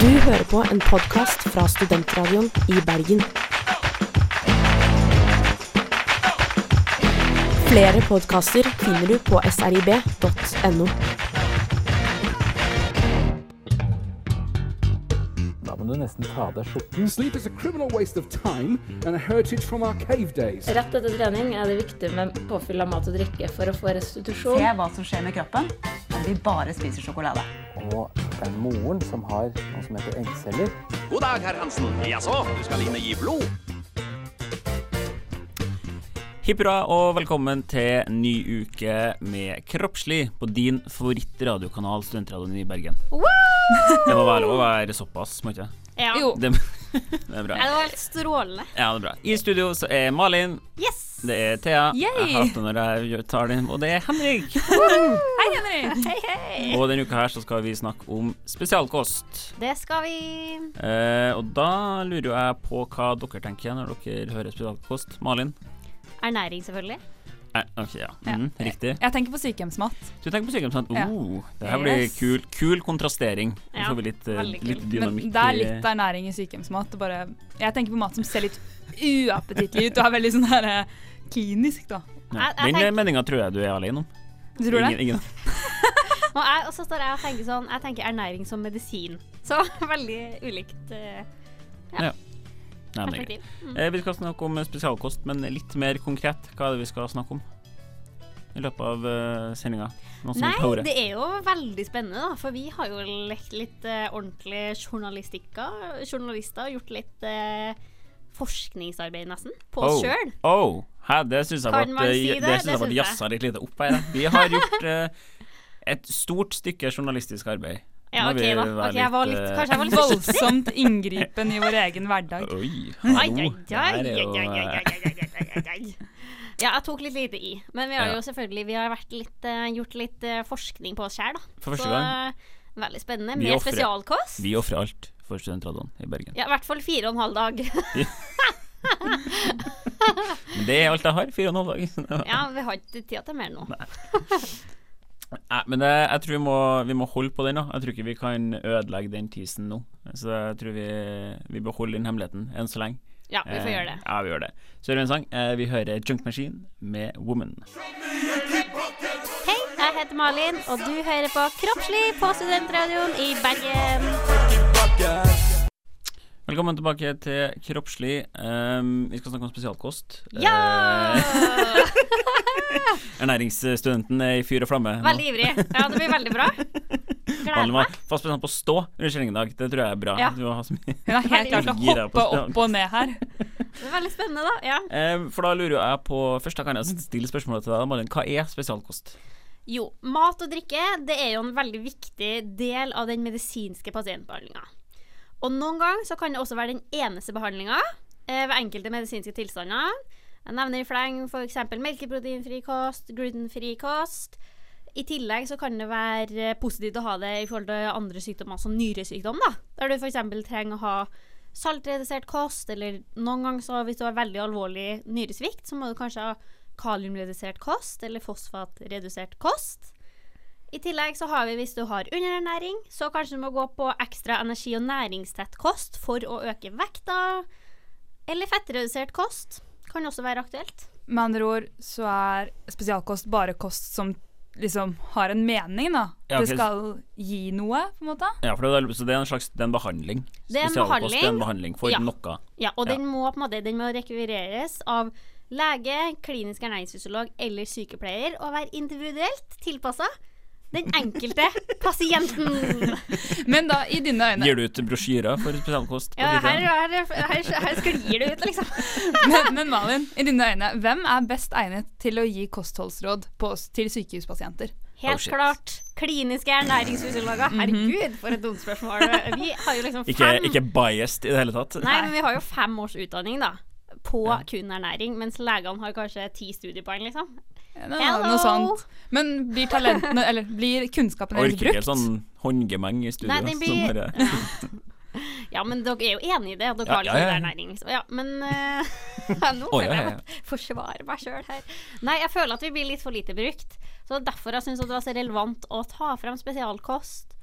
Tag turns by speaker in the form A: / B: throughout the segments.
A: Du hører på en podkast fra Studentradioen i Bergen. Flere podkaster finner du på srib.no.
B: Da må du nesten ta av deg skjorten.
C: Sleep is a criminal waste of time and a heritage from our cave days.
D: Rett etter trening er det viktig med påfyll av mat og drikke for å få restitusjon.
E: Se hva som skjer med kroppen om vi bare spiser sjokolade.
B: Og det er moren som har noe som heter eggceller.
F: God dag, herr Hansen. Jaså, du skal inn og gi blod?
G: Hipp hurra og velkommen til ny uke med Kroppslig på din favorittradiokanal, Studentradioen i Bergen. Det må være lov å være såpass, må ikke det?
H: Ja.
G: Det, det er bra.
H: Nei, det var helt strålende.
G: Ja, det er bra. I studio så er Malin,
H: Yes!
G: det er Thea,
H: Yay!
G: jeg hater når jeg gjør- tar den, og det er Henrik.
H: Hei, Henrik! Hei, hei!
G: Og denne uka her så skal vi snakke om spesialkost.
H: Det skal vi.
G: Eh, og da lurer jo jeg på hva dere tenker når dere hører spesialkost. Malin?
H: Ernæring, selvfølgelig.
G: Eh, ok, ja. Mhm, Riktig.
I: Jeg tenker på sykehjemsmat.
G: Du tenker på sykehjemsmat.
I: Ja.
G: Oh, det her blir
I: Yes.
G: kul, kul kontrastering. Og så
H: Ja,
G: får vi litt, eh,
H: veldig kul.
G: litt
I: Men
G: dynamikk.
I: det er
G: i-
I: litt ernæring i sykehjemsmat. det Bare, jeg tenker på mat som ser litt uappetittlig ut og er veldig sånn her eh, klinisk, da.
G: ja.
H: Jeg- jeg
G: Den meninga tror jeg du er alene om.
I: Du tror
G: Ingen,
I: det?
G: ingen.
J: Og, jeg, og så står jeg og tenker sånn Jeg tenker ernæring som medisin. Så veldig ulikt eh,
G: Nei, men det er greit.
J: perspektiv. Mm.
G: Eh, Vi skal snakke om spesialkost, men litt mer konkret. Hva er det vi skal snakke om i løpet av uh, sendinga? Noe som
J: Nei,
G: gikk på ordet.
J: det er jo veldig spennende, da. For vi har jo lekt litt eh, ordentlig journalistikker. Journalister og gjort litt eh, forskningsarbeid, nesten, på oss
G: Oh.
J: sjøl.
G: Oh, hæ, det syns jeg
J: Kan
G: ble
J: man si det?
G: det synes
J: Det
G: jeg ble
J: synes jeg.
G: jazza litt lite opp her. da. Vi har gjort eh, et stort stykke journalistisk arbeid.
J: Ja,
G: Må
J: OK,
G: vi
J: da.
G: være
J: Ok, jeg var litt,
G: eh,
J: kanskje jeg var litt
I: Voldsomt inngripen i vår egen hverdag.
G: Oi,
J: Ai,
G: hallo.
J: ai,
G: Det
J: ai,
G: her er jo,
J: ai, ai, ai,
G: eh,
J: ai, ai, ai, ai, ai. Ja, jeg tok litt lite i. Men vi har
G: Ja.
J: jo selvfølgelig vi har vært litt, eh, gjort litt eh, forskning på oss sjøl, da.
G: For første
J: Så,
G: gang.
J: eh, veldig spennende.
G: Vi
J: Med
G: offrer-
J: spesialkost.
G: Vi ofrer alt for studentradioen i Bergen.
J: Ja, i hvert fall fire og en halv dag.
G: Men det er alt jeg har. Fire og en halv dag.
J: Ja, vi har ikke tid til mer nå.
G: Nei, men det, jeg tror vi må, vi må holde på den. da Jeg tror ikke vi kan ødelegge den teasen nå. Så jeg tror vi, vi beholder den hemmeligheten enn så lenge.
J: Ja, vi får
G: Eh,
J: gjøre det.
G: Ja, vi gjør det. Så hører vi en sang. Eh, Vi hører Junk Machine med Woman.
J: Hei, jeg heter Malin, og du hører på Kroppslig på Studentradioen i Bergen.
G: Velkommen tilbake til Kroppslig. Ehm, vi skal snakke om spesialkost.
J: Ja!
G: Eh, ernæringsstudenten er i fyr og flamme. nå.
J: Veldig ivrig. Ja, det blir veldig bra. Gleder
G: Malin var
J: meg.
G: fast bestemt på å stå under kjenning i dag. Det tror jeg er bra.
J: Ja.
G: Du har så mye
I: Hun er helt klar til å
G: Gira på
I: hoppe
G: stand.
I: opp og ned her.
J: Det er veldig spennende, da. Ja.
G: Eh, For da lurer jo jeg på Først da kan jeg stille spørsmålet til deg, Malin. Hva er spesialkost?
J: Jo, mat og drikke det er jo en veldig viktig del av den medisinske pasientbehandlinga. Og noen ganger så kan det også være den eneste behandlinga eh, ved enkelte medisinske tilstander. Jeg nevner i fleng f.eks. melkeproteinfri kost, glutenfri kost. I tillegg så kan det være eh, positivt å ha det i forhold til andre sykdommer, som nyresykdom, da. Der du f.eks. trenger å ha saltredusert kost, eller noen ganger så hvis du har veldig alvorlig nyresvikt, så må du kanskje ha kaliumredusert kost, eller fosfatredusert kost. I tillegg så har vi hvis du har underernæring, så kanskje du må gå på ekstra energi- og næringstett kost for å øke vekta. Eller fettredusert kost kan også være aktuelt.
I: Med andre ord så er spesialkost bare kost som liksom har en mening, da.
G: Ja,
I: Det
G: ok.
I: skal gi noe, på en måte.
G: Ja, for det er, så det er en slags det er en behandling?
J: Det er en
G: Spesialkost
J: behandling.
G: er en behandling for
J: Ja.
G: noe.
J: Ja, og
G: Ja.
J: den må på en måte den må rekvireres av lege, klinisk ernæringsfysiolog eller sykepleier og være individuelt tilpassa den enkelte pasienten.
I: Men da, i dine øyne
G: Gir du ut brosjyrer for spesialkost? på
J: Ja, her,
G: fritiden?
J: her, her, her sklir det ut, liksom.
I: men, men Malin, i dine øyne, hvem er best egnet til å gi kostholdsråd på, til sykehuspasienter?
G: Oh,
J: Helt
G: shit. Mhm.
J: klart. Kliniske ernæringsfysiologer. Herregud, for et dumt spørsmål. Vi har jo liksom
G: ikke,
J: fem
G: ikke biased i det hele tatt?
J: Nei, men vi har jo fem års utdanning, da. På kun ernæring, mens legene har kanskje ti studiepoeng, liksom.
I: Ja, Noe,
J: Hello!
I: noe sånt. Men blir talentene, eller blir kunnskapen deres
G: Orker ikke
I: brukt?
G: sånn håndgemeng i studio.
J: Nei, den blir-
G: sånn bare-
J: Ja, men dere er jo enig i det, at dere
G: Ja,
J: har litt
G: ja, ja, ja.
J: ernæring. Liksom. Ja, men eh, Nå
G: Å, ja,
J: føler
G: ja,
J: jeg
G: ja.
J: meg forsvarer meg sjøl her. Nei, jeg føler at vi blir litt for lite brukt. Så derfor jeg syns det var så relevant å ta frem spesialkost,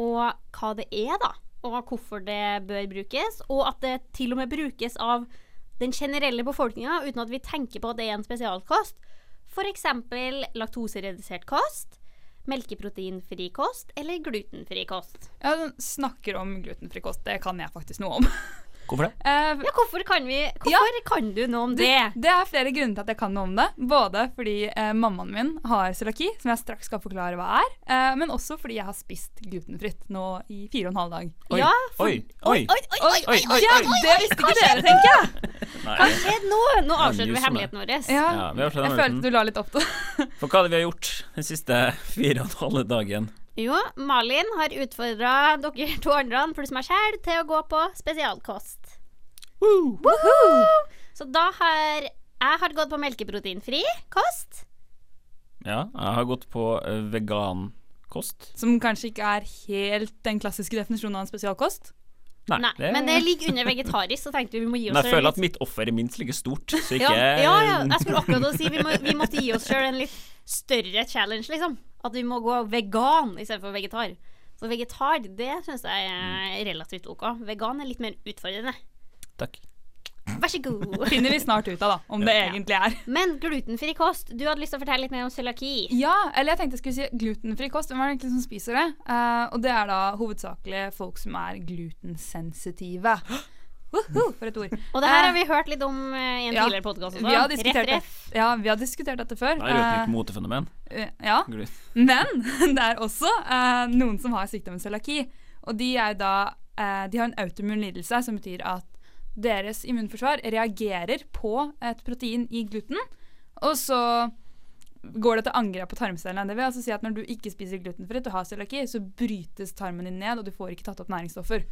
J: og hva det er, da. og hvorfor det bør brukes, og at det til og med brukes av den generelle befolkninga uten at vi tenker på at det er en spesialkost. F.eks. laktoseredusert kost, melkeproteinfri kost eller glutenfri kost.
I: Ja, den snakker om glutenfri kost. Det kan jeg faktisk noe om.
G: Hvorfor det?
I: Eh,
J: Ja, hvorfor kan, vi, hvorfor kan du noe om
I: det,
J: det?
I: det er flere grunner til at jeg kan noe om det. Både fordi eh, mammaen min har cøliaki, som jeg straks skal forklare hva er, eh, men også fordi jeg har spist glutenfritt nå i fire og en halv dag.
G: Oi,
J: Ja,
G: oi, oi,
J: Oi, oi, oi! oi, oi,
I: Ja,
J: oi, oi.
I: det visste ikke dere, tenker jeg!
G: Nei.
J: Se, nå nå avslører vi
G: Newsom, ja.
J: hemmeligheten vår.
I: Ja,
G: Ja, vi har skjønt
I: jeg
G: hemmeligheten.
I: følte du la litt opp til
G: For hva er det vi har gjort den siste fire og en halv dagen?
J: Jo, Malin har utfordra dere to andre pluss meg sjæl til å gå på spesialkost. Woohoo! Så da har jeg har gått på melkeproteinfri kost.
G: Ja, jeg har gått på eh, vegankost.
I: Som kanskje ikke er helt den klassiske definisjonen av en spesialkost.
G: Nei,
J: Nei,
G: det,
J: Men det ligger under vegetarisk, så tenkte vi vi må gi oss
G: men jeg
J: selv
G: føler
J: litt-
G: at mitt offer er minst like stort, så
J: ja,
G: ikke
J: ja, ja, jeg skulle akkurat å si vi, må, vi måtte gi oss sjøl en litt større challenge, liksom. At vi må gå vegan istedenfor vegetar. Så vegetar, det syns jeg
I: Mm.
J: er relativt OK. Vegan er litt mer utfordrende.
G: Takk.
J: Vær så god.
I: Finner vi snart ut av, da, om det egentlig er.
J: Men glutenfri kost, du hadde lyst til å fortelle litt mer om cøliaki.
I: Ja, eller jeg tenkte jeg skulle si glutenfri kost. Hvem er det egentlig som spiser det? Eh, og det er da hovedsakelig folk som er glutensensitive. Woohoo, for et ord.
J: Og det her
I: Eh,
J: har vi hørt litt om eh, i en
I: ja.
J: tidligere podkast også.
I: Vi har diskutert,
J: Rett, rett.
I: det- ja, vi har diskutert dette før.
G: Det er jo et nytt motefenomen.
I: Eh, eh, ja. Men det er også eh, noen som har sykdommen cøliaki. Og de, er jo da, eh, de har en autoimmun lidelse, som betyr at deres immunforsvar reagerer på et protein i gluten. Og så går det til angrep på tarmcellene. Det vil altså si at når du ikke spiser glutenfritt og har cøliaki, så brytes tarmen din ned, og du får ikke tatt opp næringsstoffer.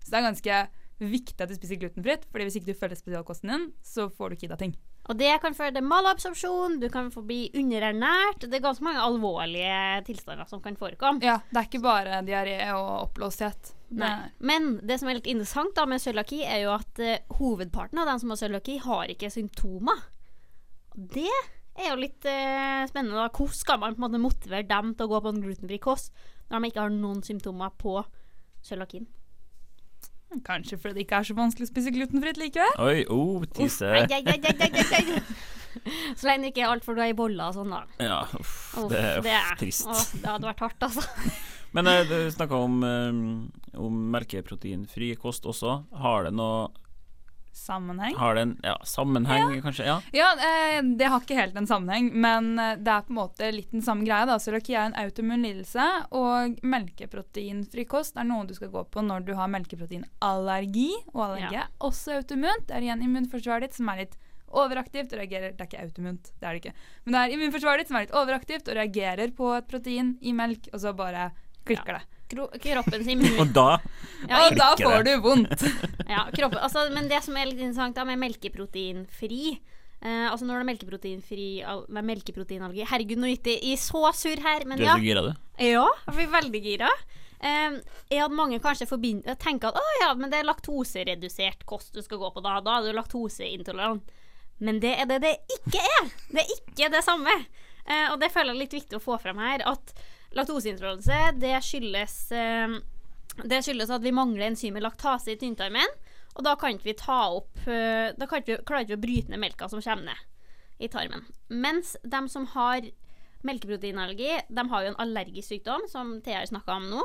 I: Så det er ganske viktig at du spiser glutenfritt, fordi hvis ikke du følger spesialkosten din, så får du ikke i deg ting.
J: Og det kan føre til malabsorpsjon, du kan få bli underernært. Det er ganske mange alvorlige tilstander som kan forekomme.
I: Ja, det er ikke bare diaré og oppblåsthet.
J: Nei. Men det som er litt interessant da med cøliaki, er jo at eh, hovedparten av dem som har cøliaki, har ikke symptomer. Og Det er jo litt eh, spennende. da. Hvordan skal man på en måte motivere dem til å gå på en glutenfri kost når de ikke har noen symptomer på cøliakien?
I: Kanskje fordi det ikke er så vanskelig å spise glutenfritt likevel?
G: Oi, oh,
J: Ai,
G: tise.
J: ai, ai, ai, ai, ai, ai. Så lenge det ikke er altfor du er i boller og sånn, da.
G: Ja, uff,
J: Uff,
G: det er
J: det er-
G: uff, trist.
J: Åh, det hadde vært hardt, altså.
G: Men eh, du snakka om, eh, om melkeproteinfri kost også. Har det noe
I: Sammenheng?
G: Har det en ja, sammenheng, kanskje? Ja.
I: Ja, eh, det har ikke helt en sammenheng, men eh, det er på en måte litt den samme greia. da. Cøliaki er en autoimmun lidelse, og melkeproteinfri kost er noe du skal gå på når du har melkeproteinallergi. Og allergi
J: Ja.
I: er også autoimmunt. Det er igjen immunforsvaret ditt som er litt overaktivt og reagerer Det er ikke autoimmunt, det er det ikke. Men det er immunforsvaret ditt som er litt overaktivt og reagerer på et protein i melk, og så bare klikker det.
J: Kro kroppens immun...
G: Og da
J: Ja,
I: og da
G: klikker
I: får du
G: det.
I: vondt.
J: Ja, kroppen, altså, men det som er litt interessant da, med melkeproteinfri eh, Altså når det er melkeproteinfri al Nei, melkeproteinallergi Herregud, nå gikk det i så sur her, men
G: Du er
J: ja.
G: så gira, du.
J: Ja, jeg blir veldig gira. Eh, jeg hadde mange kanskje forbind- tenker at å ja, men det er laktoseredusert kost du skal gå på da. Da er du laktoseintolerant. Men det er det det ikke er. Det er ikke det samme. Eh, og det føler jeg er litt viktig å få frem her, at laktoseintoleranse, det skyldes eh, det skyldes at vi mangler enzymet laktase i tynntarmen, og da kan ikke vi ta opp eh, Da kan ikke vi, klarer ikke vi å bryte ned melka som kommer ned i tarmen. Mens de som har melkeproteinallergi, de har jo en allergisk sykdom, som Thea har snakka om nå,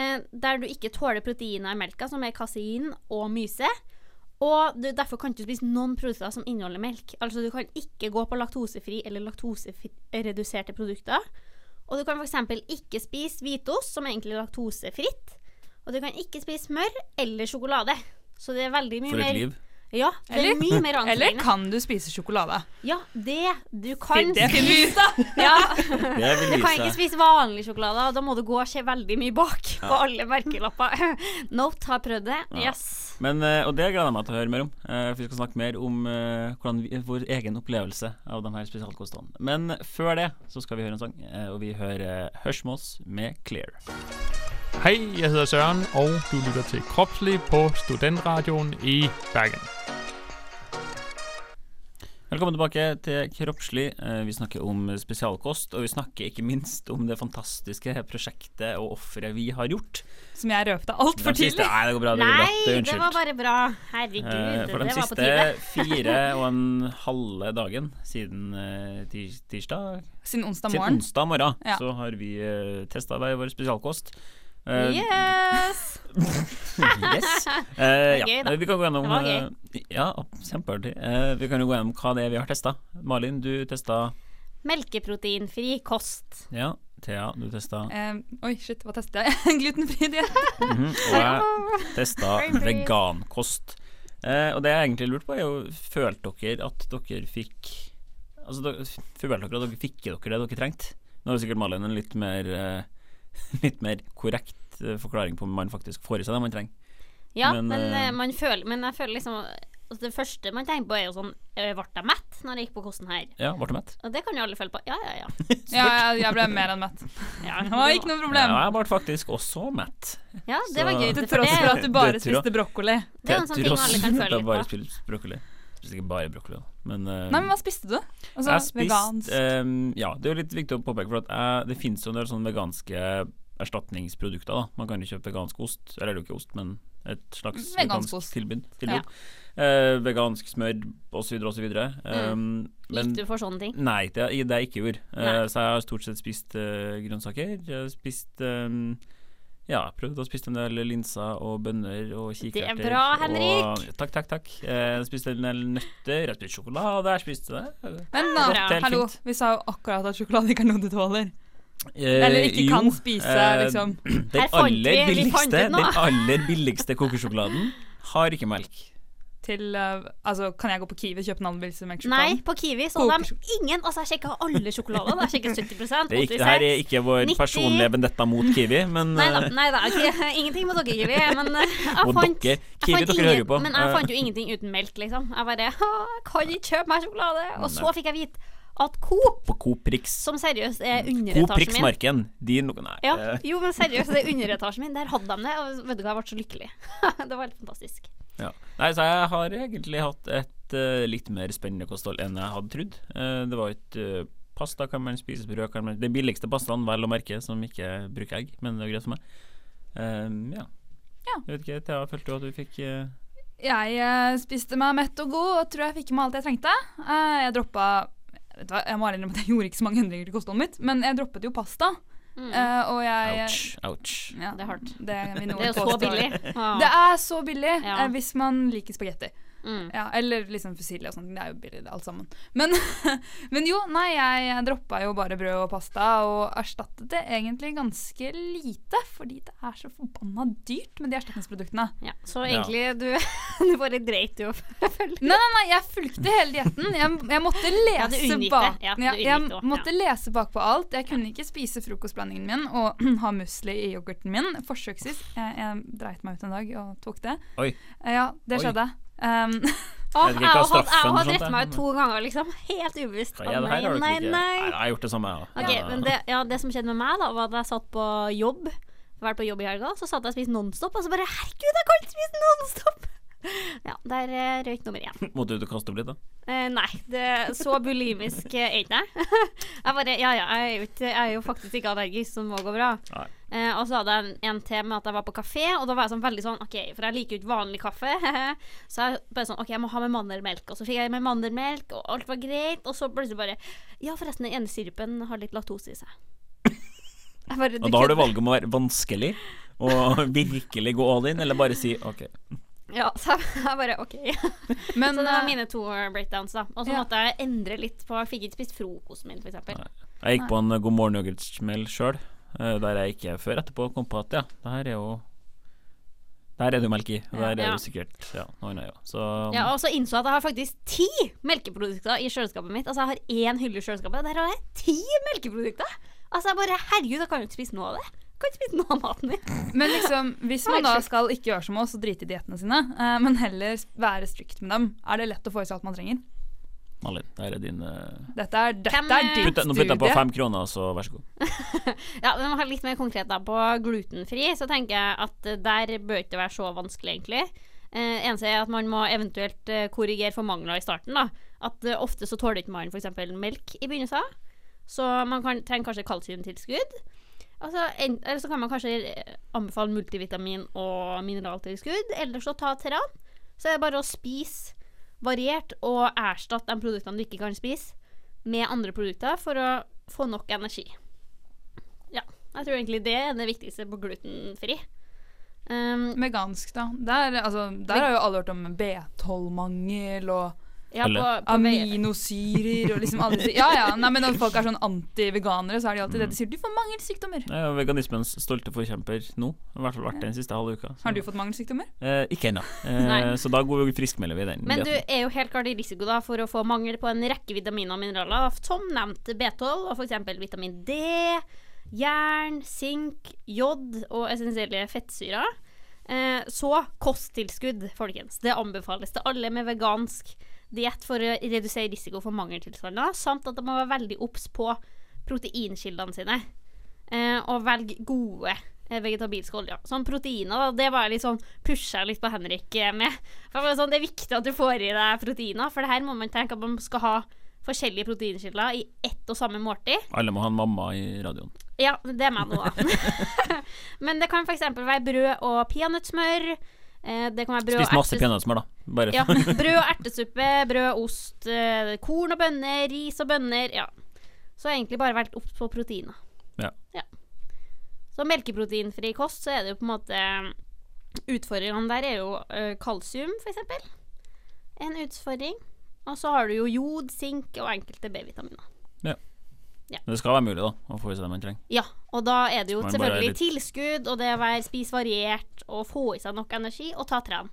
J: eh, der du ikke tåler proteiner i melka, som er kasein og myse. Og du, derfor kan du ikke spise noen produkter som inneholder melk. Altså du kan ikke gå på laktosefri eller laktosereduserte produkter. Og du kan f.eks. ikke spise hvitost, som egentlig er laktosefritt. Og du kan ikke spise smør eller sjokolade. Så det er veldig mye
G: For et
J: mer
G: liv.
J: Ja, det er
I: Eller-
J: mye mer
I: Eller
J: anstrengende.
I: kan du spise sjokolade?
J: Ja, det du kan
I: Det finner vi ut av!
J: Ja.
G: Det vil
J: Du kan
G: vise
J: ikke
G: seg.
J: spise vanlig sjokolade, og da må du gå og se veldig mye bak på alle merkelapper. Note har prøvd det.
G: Ja.
J: Yes.
G: Men, eh, og det gleder jeg meg til å høre mer om. eh, For vi skal snakke mer om eh, hvordan vi, vår egen opplevelse av de her spesialkostene. Men før det så skal vi høre en sang, eh, og vi hører Hørsmås med 'Clear'.
K: Hej, jeg hedder Søren, og du lytter til Kropslig på Studentradioen i Bergen.
G: Velkommen tilbake til Kroppslig. Eh, Vi snakker om spesialkost, og vi snakker ikke minst om det fantastiske prosjektet og offeret vi har gjort.
I: Som jeg røpte altfor
G: De siste-
I: tidlig.
G: Nei, det går bra. Det går bra. Det
J: Nei,
G: er
J: det var
G: unnskyld.
J: bare bra. Herregud,
G: Eh, For de
J: det var på
G: siste
J: tide.
G: fire og en halve dagen siden eh, tirs- tirsdag
I: Siden onsdag
G: Siden
I: morgen.
G: onsdag morgen
I: Ja.
G: så har vi uh, testa hver vår spesialkost. Eh,
J: Yes!
G: yes. Eh, ja.
J: gøy, da.
G: eh, Vi kan gå gjennom
J: Det var gøy.
G: eh, Ja, kjempeartig. Eh, vi kan jo gå gjennom hva det er vi har testa. Malin, du testa
J: Melkeproteinfri kost.
G: Ja. Thea, du testa.
I: Eh, oi, shit, hva testet jeg? Glutenfri diett.
G: Mhm, Og jeg testa vegankost. Eh, og det jeg egentlig lurte på, er jo Følte dere at dere fikk Altså, dere, følte dere at dere fikk i dere det dere trengte? Nå har jo sikkert Malin en litt mer eh, Litt mer korrekt eh, forklaring på om man faktisk får i seg det man trenger.
J: Ja,
G: Men,
J: men,
G: eh,
J: eh, man føler, men jeg føler liksom altså, Det første man tenker på, er jo sånn eh, Ble jeg mett når jeg gikk på kosten her?
G: Ja, ble du mett?
J: Og det kan jo alle føle på. Ja, ja, ja.
I: Ja, jeg, jeg ble mer enn mett.
J: ja.
I: Det var ikke noe problem.
G: Ja, jeg ble faktisk også mett.
J: Ja, det var
G: Så-
J: gøy.
I: Til
J: for
I: tross for
J: det,
I: at du bare
G: det tror jeg.
I: spiste brokkoli.
J: det er en sånn ting alle kan føle
G: Jeg bare
J: litt på.
G: spiste brokkoli. Spiste ikke bare brokkoli, da. Men, eh,
I: Nei, men hva spiste du? Altså,
G: jeg spiste
I: vegansk.
G: ehm, Ja, det er jo litt viktig å påpeke, for at jeg, det finnes jo en del sånne veganske erstatningsprodukter. da Man kan jo kjøpe vegansk ost, eller det er jo ikke ost, men et slags
I: Vegansk
G: vegansk
I: ost.
G: tilbud. tilbud. Eh, vegansk smør osv. osv. Um,
J: Mm. Gikk du for sånne ting?
G: Nei, det, det har jeg ikke gjort. Eh,
J: Nei.
G: så jeg har stort sett spist eh, grønnsaker. Jeg har spist um, Ja, prøvd å spise en del linser og bønner og
J: er
G: kikerter.
J: bra,
G: Og,
J: Henrik!
G: takk, takk, takk. Eh, Jeg har spist en del nøtter. Jeg har spist sjokolade. Jeg har spist det.
I: Men da,
G: Godt, helt
I: hallo,
G: fint.
I: vi sa jo akkurat at sjokolade ikke er noe du tåler.
G: Eh,
I: Eller ikke kan
G: jo,
I: spise,
G: eh,
I: liksom.
G: Den
J: Her fant
G: aller
J: vi- vi fant
G: billigste,
J: ut
G: den
J: noe.
G: aller billigste kokesjokoladen har ikke melk.
I: Til, eh, altså, kan jeg gå på Kiwi og kjøpe en annen bilse
J: Nei,
I: med melkesjokolade?
J: på Kiwi så
I: Koker-
J: de ingen Altså, jeg sjekka alle sjokolader. da. Jeg sjekket 70
G: Det, er ikke, det her er
J: 86
G: ikke vår
J: 90.
G: personlige vendetta mot Kiwi, men
J: Nei da,
G: eh,
J: nei da ikke, ingenting mot dere, Kiwi. Men eh, jeg
G: Mot dere.
J: fant, jeg
G: Kiwi,
J: fant
G: dere
J: ingen-
G: hører jo på.
J: Men
G: Eh.
J: jeg fant jo ingenting uten melk, liksom. Jeg bare «Å, jeg kan ikke kjøpe meg sjokolade. Og så fikk jeg vite at Coop,
G: på Coop Rix.
J: som seriøst er
G: Coop
J: underetasjen
G: Rix
J: Sånn min
G: Marken. Din Nei.
J: ja,
G: eh,
J: Jo, men seriøst, det er underetasjen min. Der hadde de det. Og vet du hva, jeg ble så lykkelig. det var helt fantastisk.
G: Ja. Nei, så jeg har egentlig hatt et eh, litt mer spennende kosthold enn jeg hadde trodd. Eh, det var jo ikke eh, Pasta kan man spise, brød kan man Den billigste pastaen, vel å merke, som ikke bruker egg, men det er greit for meg. Eh, ja.
I: Ja.
G: Jeg vet ikke, Thea, følte du at du fikk eh,
I: Jeg eh, spiste meg mett og god og tror jeg fikk i meg alt jeg trengte. Eh, jeg droppa vet du hva, Jeg må ærlig innrømme at jeg gjorde ikke så mange endringer til kostholdet mitt, men jeg droppet jo pasta. Eh, og jeg
G: Ouch, ouch.
I: Ja,
J: Mm. Det er hardt.
I: Det, vil noen
J: Det er jo så
I: påstå.
J: billig. Ah.
I: Det er så billig
J: Ja.
I: eh, hvis man liker spagetti.
J: Mm.
I: Ja, eller liksom fusilli og sånt. Det er jo billig, det, alt sammen. Men, men jo, nei, jeg droppa jo bare brød og pasta og erstattet det egentlig ganske lite. Fordi det er så forbanna dyrt med de erstatningsproduktene.
J: Ja, så egentlig, du, du bare dreit i å følge
I: Nei, nei, nei, jeg fulgte hele dietten. Jeg, jeg måtte
J: du
I: lese
J: unngikk det.
I: bak
J: Ja, du
I: jeg,
J: unngikk det
I: jeg
J: også,
I: måtte lese bakpå alt. Jeg kunne ikke spise frokostblandingen min og ha musli i yoghurten min. Forsøksvis. Jeg, jeg dreit meg ut en dag og tok det.
G: Oi.
I: Eh, Ja, det
G: Oi.
I: skjedde. Um,
G: Jeg
J: Å,
G: vet
J: jeg
G: ikke hva
J: har hatt- jeg
G: straffen
J: har
G: for sånt
J: dreit meg
G: er,
J: ut to ganger, liksom. Helt ubevisst.
G: Ja, det
J: Å,
G: her har du
J: nei,
G: ikke.
J: nei.
G: jeg har gjort det samme, jeg
J: Ok, men det, ja, det som skjedde med meg, da var at jeg satt på jobb. Vært på jobb i helga, så satt jeg og spiste Nonstop, og så bare Herregud, jeg kan ikke spise Nonstop! Ja, der eh, røyk nummer én.
G: Måtte du kaste opp litt, da?
J: Eh, nei, det, så bulimisk eh, er ikke jeg. Jeg bare Ja ja, jeg er jo, ikke, jeg er jo faktisk ikke allergisk, så det må gå bra.
G: Nei.
J: Eh, og så hadde jeg en, en til med at jeg var på kafé, og da var jeg sånn veldig sånn OK, for jeg liker jo ikke vanlig kaffe. så jeg bare sånn OK, jeg må ha med mandelmelk. Og så fikk jeg med mandelmelk, og alt var greit. Og så plutselig bare Ja, forresten, den ene sirupen har litt laktose i seg. Jeg bare,
G: Og da har du
J: kødder.
G: valget om å være vanskelig og virkelig gå all in, eller bare si OK.
J: Ja, så jeg, jeg bare OK.
I: men
J: så det var
I: eh,
J: mine to breakdowns, da. Og så
I: ja.
J: måtte jeg endre litt på Jeg fikk ikke spist frokosten min, for eksempel.
G: Jeg gikk på en God morgen yoghurt-smell sjøl, der jeg ikke før etterpå kom på at ja, det her er jo Der er det jo melk i. og Der er det
J: Ja.
G: jo sikkert ja, noe annet, ja. Så
J: Ja, og så innså jeg at jeg har faktisk ti melkeprodukter i kjøleskapet mitt. Altså, jeg har én hylle i kjøleskapet, og der har jeg ti melkeprodukter! Altså, jeg bare Herregud, jeg kan jo ikke spise noe av det. Jeg kan ikke spise noe av maten min.
I: Men liksom, hvis man da skal ikke gjøre som oss og drite i diettene sine, eh, men heller være strikt med dem, er det lett å få i seg alt man trenger?
G: Malin, der er din eh,
I: Dette er, dette
J: Hvem,
I: er
J: eh,
I: ditt
G: putte, Nå putter jeg på
I: studie.
G: fem kroner, så vær så god.
J: Ja, men her litt mer konkret, da. På glutenfri så tenker jeg at eh, der bør ikke det være så vanskelig, egentlig. Eh, eneste er at man må eventuelt eh, korrigere for mangler i starten, da. At eh, ofte så tåler ikke man f.eks. melk i begynnelsen. Så man kan, trenger kanskje kalsiumtilskudd. Altså, en, eller så kan man kanskje eh, anbefale multivitamin og mineraltilskudd. Eller så ta Teran. Så er det bare å spise variert og erstatte de produktene du ikke kan spise, med andre produkter for å få nok energi. Ja. Jeg tror egentlig det er det viktigste på glutenfri. Um,
I: Vegansk, da. Der, altså, der har jo alle hørt om B12-mangel og
J: Ja, på- Alle. på vei-
I: aminosyrer og liksom alle disse- Ja ja, nei, men når folk er sånn anti-veganere, så er de alltid det de sier. Du får mangelsykdommer.
G: Jeg er jo Eh, veganismens stolte forkjemper nå. I hvert fall vært det den siste halve uka. så-
I: Har du fått mangelsykdommer?
G: Eh, ikke ennå.
J: Nei.
G: Eh, så da går vi friskmelder vi den.
J: Men du
G: nyheten.
J: er jo helt klart i risiko da, for å få mangel på en rekke vitaminer og mineraler, som nevnt B12 og f.eks. vitamin D, jern, sink, jod og essensielle fettsyrer. Eh, så kosttilskudd, folkens. Det anbefales til alle med vegansk diett for å redusere risiko for mangeltilstander, samt at de må være veldig obs på proteinkildene sine. Eh, og velg gode eh, vegetabilske oljer. Sånn proteiner, da, det var jeg litt sånn pusha jeg litt på Henrik eh, med. For jeg var sånn, det er viktig at du får i deg proteiner, for det her må man tenke at man skal ha forskjellige proteinkilder i ett og samme måltid.
G: Alle må ha en mamma i radioen.
J: Ja, det er meg nå, da. Men det kan f.eks. være brød og peanøttsmør. Eh, Det kan være brød
G: Spis
J: og
G: masse
J: ertes-
G: peanøttsmør, da. Bare
J: ja, brød og ertesuppe, brød og ost, eh, korn og bønner, ris og bønner. Ja. Så har jeg egentlig bare vært obs på proteiner.
G: Ja.
J: Så melkeproteinfri kost, så er det jo på en måte eh, Utfordringene der er jo eh, kalsium, f.eks. En utfordring. Og så har du jo jod, sink og enkelte B-vitaminer.
G: Men det skal være mulig, da, å få i seg det man trenger.
J: Ja, og da er det jo
G: Man bare er
J: selvfølgelig
G: litt-
J: tilskudd, og det å være spise variert, og få i seg nok energi, og ta tren.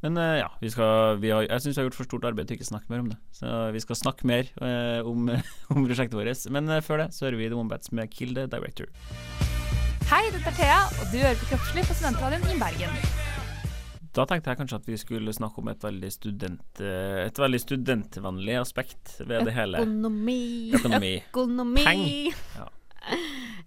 G: Men eh, ja, vi skal, vi har, jeg syns vi har gjort for stort arbeid til ikke å snakke mer om det. Så vi skal snakke mer eh, om, om prosjektet vårt. Men eh, før det så hører vi The Wombats med Kill the Director.
I: Hei, dette er Thea, og du hører på Kroppslig på Studentradioen i Bergen.
G: Da tenkte jeg kanskje at vi skulle snakke om et veldig, student, eh, et veldig studentvennlig aspekt ved det hele.
J: Økonomi.
G: Økonomi.
J: Økonomi.
G: Peng. Ja.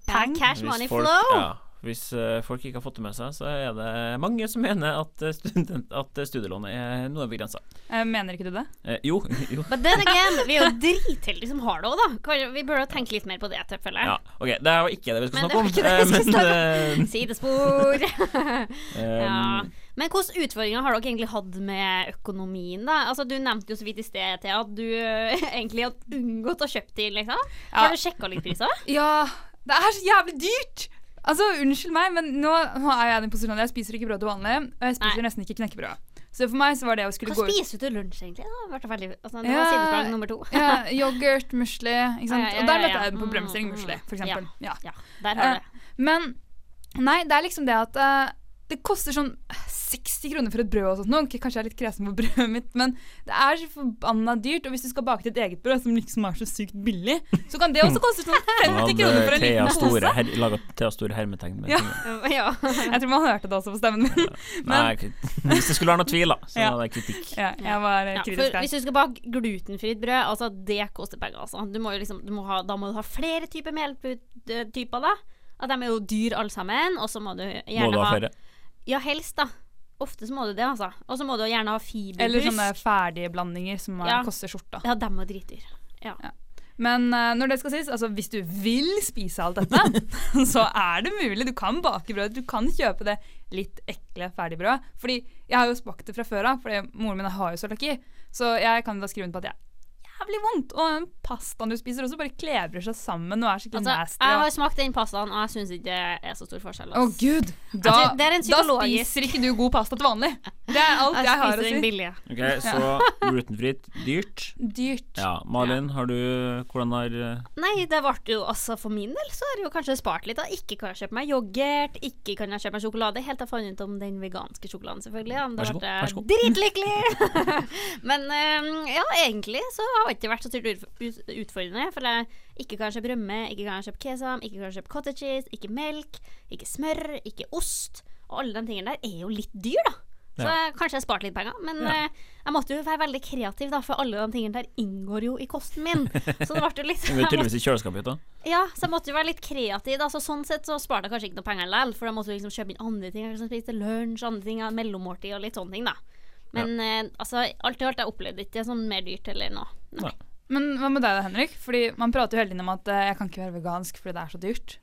J: Peng. Cash money
G: folk,
J: flow.
G: Ja, hvis eh, folk ikke har fått det med seg, så er det mange som mener at, eh, student, at eh, studielån er noe begrensa.
I: Eh, mener ikke du det?
G: Eh, jo, jo.
J: But then again, vi er jo dritheldige som har det òg, da. Kan- Vi burde tenke litt mer på det, tilfellet.
G: Ja, ok, Det var ikke det vi skulle snakke
J: Men det var
G: om.
J: ikke det vi skulle snakke
G: eh,
J: om.
G: men,
J: Sidespor.
G: eh,
J: ja.
G: em,
J: Men hvilke utfordringer har dere egentlig hatt med økonomien, da? Altså, du nevnte jo så vidt i sted til at du eh, egentlig har unngått å kjøpe ting, liksom.
I: Ja.
J: Har du sjekka litt priser?
I: Ja, det er så jævlig dyrt! Altså, Unnskyld meg, men nå, nå er jeg i den posisjonen at jeg spiser ikke brød til vanlig. Og jeg spiser nesten ikke knekkebrød. Så for meg så var det å skulle
J: Hva
I: gå ut
J: spiser du til lunsj, egentlig? Da? Ble det veldig, altså, det
I: Ja,
J: var sidespørsmål nummer to.
I: ja, yoghurt, musli. Ikke sant?
J: Ja, ja, ja,
I: Og der
J: ja,
I: lette
J: ja.
I: jeg på
J: Mm,
I: bremsing
J: mm,
I: musli, for
J: ja.
I: eksempel. Ja.
J: Ja, der har du det.
I: Eh, Men nei, det er liksom det at eh, det koster sånn 60 kroner for et brød og sånt. Nå. Ok, Kanskje jeg er litt kresen på brødet mitt, men det er så forbanna dyrt. Og hvis du skal bake ditt eget brød, som liksom er så sykt billig, så kan det også koste sånn 50
G: nå
I: kroner
G: hadde
I: for en
G: Thea
I: liten
G: store,
I: pose.
G: her, laget Thea store hermetegn. Med
I: Ja.
G: fingeren.
J: Ja.
I: Jeg tror man hørte det også på stemmen min.
G: Nei, k- hvis det skulle være noe tvil, da, så
I: Ja.
G: hadde jeg kritikk.
I: Ja, jeg var eh,
J: Ja,
I: kritisk
J: for
I: der.
J: hvis du skal bake glutenfritt brød, altså det koster penger. Altså. Du må jo liksom, du må ha, da må du ha flere typer meltyper, da. Og de er jo dyr alle sammen. Og så må du gjerne
G: Må du ha flere?
J: Ja, helst, da. Ofte så må du det, altså. Og så må du gjerne ha fiberbusk.
I: Eller sånne ferdige blandinger som eh,
J: Ja.
I: koster skjorta.
J: Ja, dem er dritdyr. Ja.
I: Men eh, når det skal sies, altså hvis du vil spise alt dette, så er det mulig. Du kan bake brød. Du kan kjøpe det litt ekle ferdigbrødet. Fordi jeg har jo smakt det fra før av, fordi moren min har jo cøliaki. Så jeg kan da skrive under på at det er jævlig vondt. Og den pastaen du spiser også, bare klebrer seg sammen og er skikkelig
J: Altså,
I: nasty.
J: jeg
I: og-
J: har smakt den pastaen, og jeg syns ikke det er så stor forskjell.
I: Å
J: altså.
I: gud! Da,
J: Altså, det er en
I: da
J: psykologisk-
I: spiser ikke du god pasta til vanlig. Det er alt jeg,
J: Jeg
I: har
J: spiser
I: å
J: den
I: si.
J: billige.
G: Ok, Så glutenfritt, dyrt.
I: Dyrt.
G: Ja, Malin, har du Hvordan har eh,
J: Nei, det ble jo altså for min del så har jeg jo kanskje spart litt. Da. Ikke kan jeg kjøpe meg yoghurt, ikke kan jeg kjøpe meg sjokolade. Helt til jeg fant ut om den veganske sjokoladen, selvfølgelig. Ja. Men
G: Vær så
J: Da
G: god,
J: ble jeg dritlykkelig! Men eh, ja, egentlig så har det ikke vært så styrt ut- ut- utfordrende. For jeg ikke kan kjøpe rømme, ikke kan kjøpe kesam, ikke kan kjøpe cottage cheese, ikke melk, ikke smør, ikke ost. Og alle de tingene der er jo litt dyr, da. Så
G: Ja.
J: jeg- kanskje jeg sparte litt penger. Men
G: Ja.
J: eh, jeg måtte jo være veldig kreativ, da, for alle de tingene der inngår jo i kosten min. Så det ble jo litt
G: Hun er tydeligvis i kjøleskapet ditt, da.
J: ja, så jeg måtte jo være litt kreativ. Da. Så sånn sett så sparte jeg kanskje ikke noe penger likevel, for jeg måtte jo liksom kjøpe inn andre ting. Jeg liksom spiste lunsj, andre ting, mellommåltid og litt sånne ting, da. Men eh, altså, alt i alt, jeg opplevde ikke sånn mer dyrt eller noe.
I: Men hva med deg da, Henrik? Fordi Man prater jo hele tiden om at eh, jeg kan ikke være vegansk fordi det er så dyrt.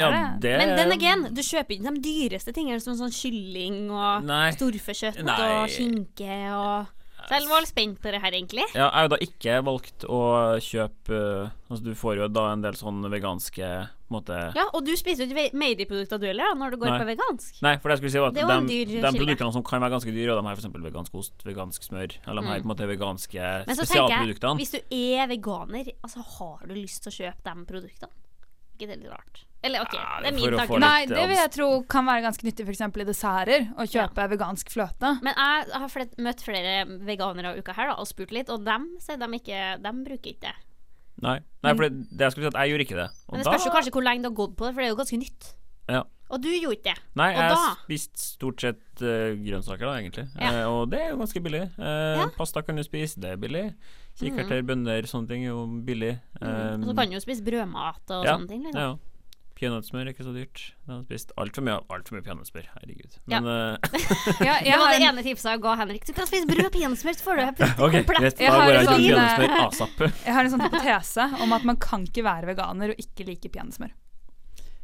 I: Er
G: Ja, det
J: Men den again, du kjøper ikke de dyreste tingene som sånn kylling og
G: Nei.
J: storfekjøtt
G: Nei.
J: og skinke og Så jeg var litt spent på det her, egentlig.
G: Ja, jeg har jo da ikke valgt å kjøpe eh, Altså Du får jo da en del sånn veganske på en måte
J: Ja, Og du spiser jo ikke ve- meieriprodukter du heller, da, når du går
G: Nei.
J: på vegansk.
G: Nei, for det jeg skulle si var at
J: Det var en
G: de,
J: dyr
G: de
J: kilde.
G: produktene som kan være ganske dyre, og de har f.eks. vegansk ost, vegansk smør, eller de her på en måte veganske
J: Mm. Men så tenker jeg,
G: spesialproduktene.
J: hvis du er veganer, altså har du lyst til å kjøpe de produktene? Ikke det er litt rart? Eller OK,
G: Ja,
J: det
G: det
J: er
G: får du
J: min
G: få
J: tanke.
G: litt-
I: Nei, det vil jeg tro kan være ganske nyttig f.eks. i desserter, å kjøpe vegansk fløte.
J: Men jeg har flet, møtt flere veganere uka her da, og spurt litt, og dem sier de ikke Dem bruker ikke det.
G: Nei, nei for det, det jeg skulle si at jeg gjorde ikke det. Og
J: Mm. Men det spørs jo kanskje hvor lenge du har gått på det, for det er jo ganske nytt.
G: Ja.
J: Og du gjorde ikke det.
G: Nei,
J: og
G: jeg
J: da
G: spiste stort sett eh, grønnsaker, da, egentlig.
J: Ja.
G: Eh, og det er jo ganske billig. Eh, Pasta kan du spise, det er billig. Kikerter, bønner, sånne ting er jo billig.
J: Mm. Og så kan du jo spise brødmat og
G: Um, ja,
J: sånne ting. Liksom.
G: Ja, ja. Peanøttsmør er ikke så dyrt. Jeg har spist altfor mye, alt for mye peanøttsmør. Herregud.
J: Ja.
G: Men eh,
I: Ja,
J: Det
I: jeg
J: var
I: har
J: det
I: en,
J: ene tipset jeg ga Henrik. Du kan spise brød og peanøttsmør, så får du
G: OK,
J: komplett.
G: greit.
I: Jeg
G: Da
I: har
G: går
I: en
G: jeg til
I: sånn, eh,
G: peanøttsmør asap.
I: jeg har en sånn hypotese om at man kan ikke være veganer og ikke like peanøttsmør.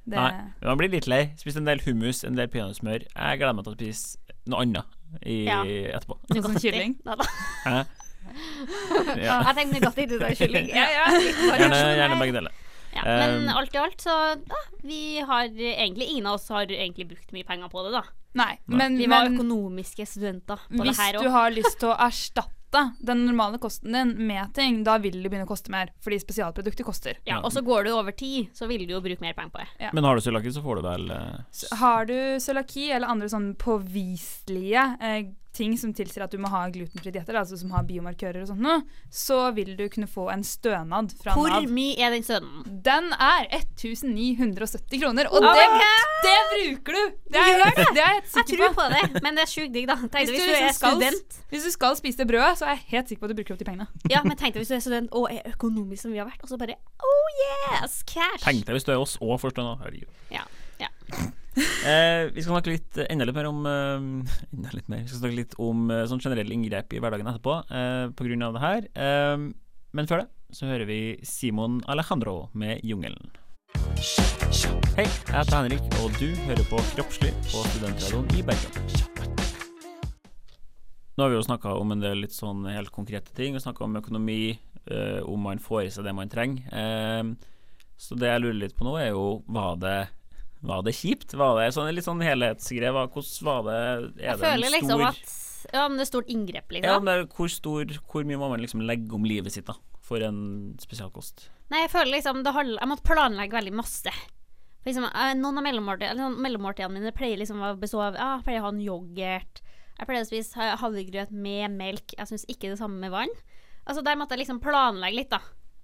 I: Det-
G: Nei, men man blir litt lei. Spist en del hummus, en del peanøttsmør. Jeg gleder meg til å spise noe annet i,
J: Ja.
G: etterpå.
I: Noe sånn kylling.
J: Nei da.
G: Hæ? Ja.
J: Jeg tenkte Nugatti til deg, kylling. Ja, ja. litt
G: Gjerne,
J: variasjon her.
G: gjerne begge deler.
J: Ja, men
G: Um,
J: alt i alt, så ja, vi har egentlig Ingen av oss har egentlig brukt mye penger på det, da.
I: Nei, men,
J: Vi var
I: men
J: økonomiske studenter på
I: hvis
J: det her
I: du
J: òg.
I: har lyst til å erstatte den normale kosten din med ting, da vil det begynne å koste mer, fordi spesialprodukter koster.
J: Ja, og så går du over tid, så vil du jo bruke mer penger på det.
G: men har du cøliaki, så får du vel eh, s-
I: Har du cøliaki eller andre sånn påviselige eh, ting som tilsier at du må ha glutenfrie dietter, altså som har biomarkører og sånt noe, så vil du kunne få en stønad fra
J: Hvor
I: Nav.
J: mye er den sønnen?
I: Den er 1970 kroner, og det, det bruker du! Det er, det er jeg helt
J: Jeg
I: sikker
J: tror
I: på.
J: på det, men det er sjukt digg, da. Tenkte,
I: Hvis du,
J: hvis, du
I: liksom
J: er
I: skal,
J: student
I: hvis du skal spise det brødet, så er jeg helt sikker på at du bruker opp de pengene.
J: Ja, men tenkte hvis du er student og er økonomisk som vi har vært, og så bare Oh yes, cash!
G: Tenk deg hvis du er oss og forstående. Herregud.
J: Ja, ja.
G: Eh, vi skal snakke litt, eh, enda litt mer om eh, Enda litt mer Vi skal snakke litt om eh, sånn generelle inngrep i hverdagen etterpå, eh, på grunn av det her. Eh, men før det så hører vi Simon Alejandro med 'Jungelen'. Hei, jeg heter Henrik, og du hører på Kroppslig på Studentradioen i Bergen. Nå har vi jo snakka om en del litt sånn helt konkrete ting. Vi snakka om økonomi, eh, om man får i seg det man trenger. Eh, så det jeg lurer litt på nå, er jo var det var det kjipt? Var det sånn, litt sånn helhetsgreie? Hva- Hvordan var det? Er
J: Jeg
G: det en
J: føler liksom at Ja, men det er stort inngrep,
G: ja,
J: liksom.
G: men det er hvor, stor, hvor mye må man liksom legge om livet sitt da for en spesialkost?
J: Nei, jeg føler liksom det handler, Jeg måtte planlegge veldig masse. For Liksom, eh, noen av mellommåltid- eller sånn mellommåltidene mine pleier liksom å bestå av ja, Jeg pleier å ha en yoghurt. Jeg pleier å spise ha- havregrøt med melk. Jeg syns ikke det samme med vann. Altså Der måtte jeg liksom planlegge litt, da.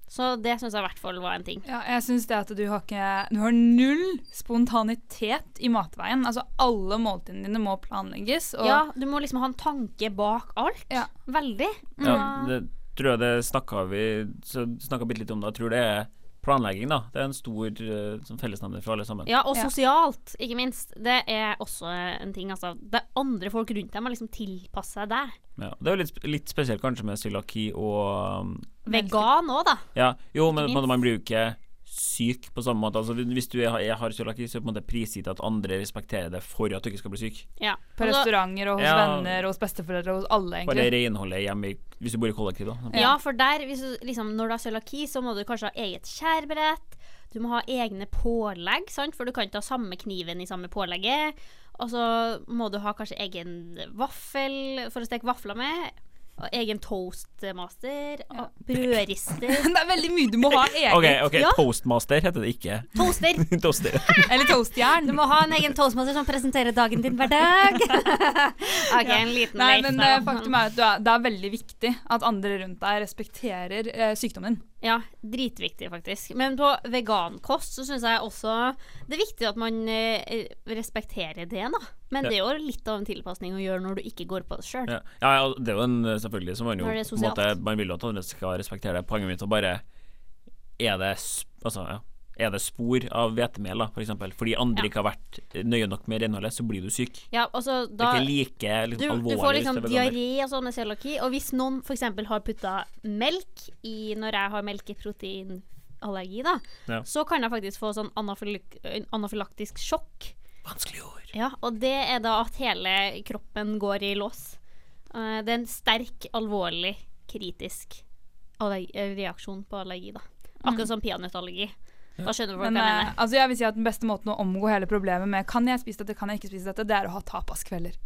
J: Så det syns jeg i hvert fall var en ting.
I: Ja, jeg synes det at du har ikke Du har null spontanitet i matveien. Altså alle måltidene dine må planlegges. Og
J: Ja, du må liksom ha en tanke bak alt.
I: Ja.
J: Veldig.
G: Ja, det tror jeg det snakka vi så snakket bitte litt om det. Jeg tror det er planlegging, da. Det er en stor eh, sånn fellesnevner for alle sammen.
J: Ja, og
I: Ja.
J: sosialt, ikke minst. Det er også en ting, altså. Det andre folk rundt deg må liksom tilpasse seg deg.
G: Ja, Det er jo litt, litt spesielt kanskje med cøliaki og um,
J: Vegan òg, da.
G: Ja, jo, men
J: Ikke
G: på en måte
J: minst.
G: man blir jo ikke syk på samme måte. Altså, hvis du er, er- har cøliaki, så er det på en måte prisgitt at andre respekterer det for at du ikke skal bli syk.
J: Ja. Altså,
I: på
J: Og så-
I: restauranter og hos
G: Altså, Ja.
I: venner og hos besteforeldre og hos alle,
G: Bare
I: egentlig.
G: renholdet hjemme i, hvis du bor i kollektiv, da.
J: Ja, for der, hvis du, liksom, når du har cøliaki, så må du kanskje ha eget skjærbrett. Du må ha egne pålegg, sant? for du kan ikke ha samme kniven i samme pålegget. Og så må du ha kanskje egen vaffel for å steke vafler med. Og egen toastmaster. Og brødrister.
I: Det er veldig mye du må ha eget.
G: Ok, ok,
J: Ja.
G: Toastmaster heter det ikke.
J: Toaster!
G: Toaster.
I: Eller toastjern.
J: Du må ha en egen toastmaster som presenterer dagen din hver dag. OK, en liten
I: Nei,
J: leif
I: men
J: der,
I: eh,
J: da.
I: faktum er at du er, det er veldig viktig at andre rundt deg respekterer eh, sykdommen din.
J: Ja, dritviktig faktisk. Men på vegankost så syns jeg også det er viktig at man eh, respekterer det, da. Men
G: Ja.
J: det er jo litt av en tilpasning å gjøre når du ikke går på det sjøl.
G: Ja, ja, ja, det er jo en selvfølgelig så man, jo,
J: Når det er
G: på en måte,
J: sosialt.
G: man vil jo at andre skal respektere det. Poenget mitt er bare Er det s- Altså, ja. er det spor av hvetemel, da, f.eks. eksempel fordi andre ikke har vært nøye nok med renholdet, så blir du syk.
J: Ja, altså,
G: det
J: da,
G: er ikke like liksom,
J: du,
G: alvorlig.
J: du får
G: hvis
J: liksom
G: det er veganer.
J: diaré og sånn med cøliaki. Og hvis noen f.eks. har putta melk i Når jeg har melkeproteinallergi, da,
G: Ja.
J: så kan jeg faktisk få sånn anafyl- anafylaktisk sjokk.
G: Vanskelig ord.
J: Ja, og det er da at hele kroppen går i lås. Eh, Det er en sterk, alvorlig, kritisk allergi, eh, reaksjon på allergi, da. Akkurat som peanøttallergi. Da skjønner du hva jeg
I: Mm. Men eh,
J: mener.
I: altså jeg vil si at den beste måten å omgå hele problemet med kan jeg spise dette, kan jeg ikke spise dette, det er å ha tapaskvelder.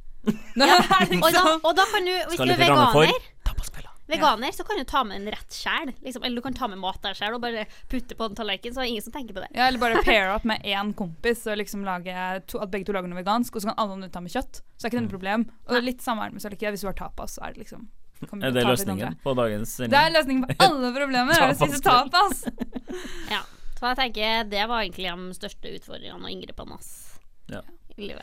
J: Og da,
I: liksom-
J: og da kan du, hvis
G: Skal
J: du er
G: litt ramme for.
J: veganer, veganer, så kan du ta med en rett sjæl. Liksom, eller du kan ta med mat der sjæl og bare putte på en tallerken, så er det ingen som tenker på det.
I: Ja, eller bare pair up med én kompis, og liksom lage to, at begge to lager noe vegansk, og så kan alle andre ta med kjøtt. Så er ikke det
G: Mm.
I: noe problem. Og det er litt samme her med cøliaki. Hvis du har tapas, så er det liksom kan vi
G: Er det
I: ta til hverandre.
G: løsningen på dagens
I: Det er løsningen på alle problemer, er å spise tapas.
J: Ja. Så jeg tenker det var egentlig de største utfordringene og inngrepene hans
G: Ja.
J: i livet.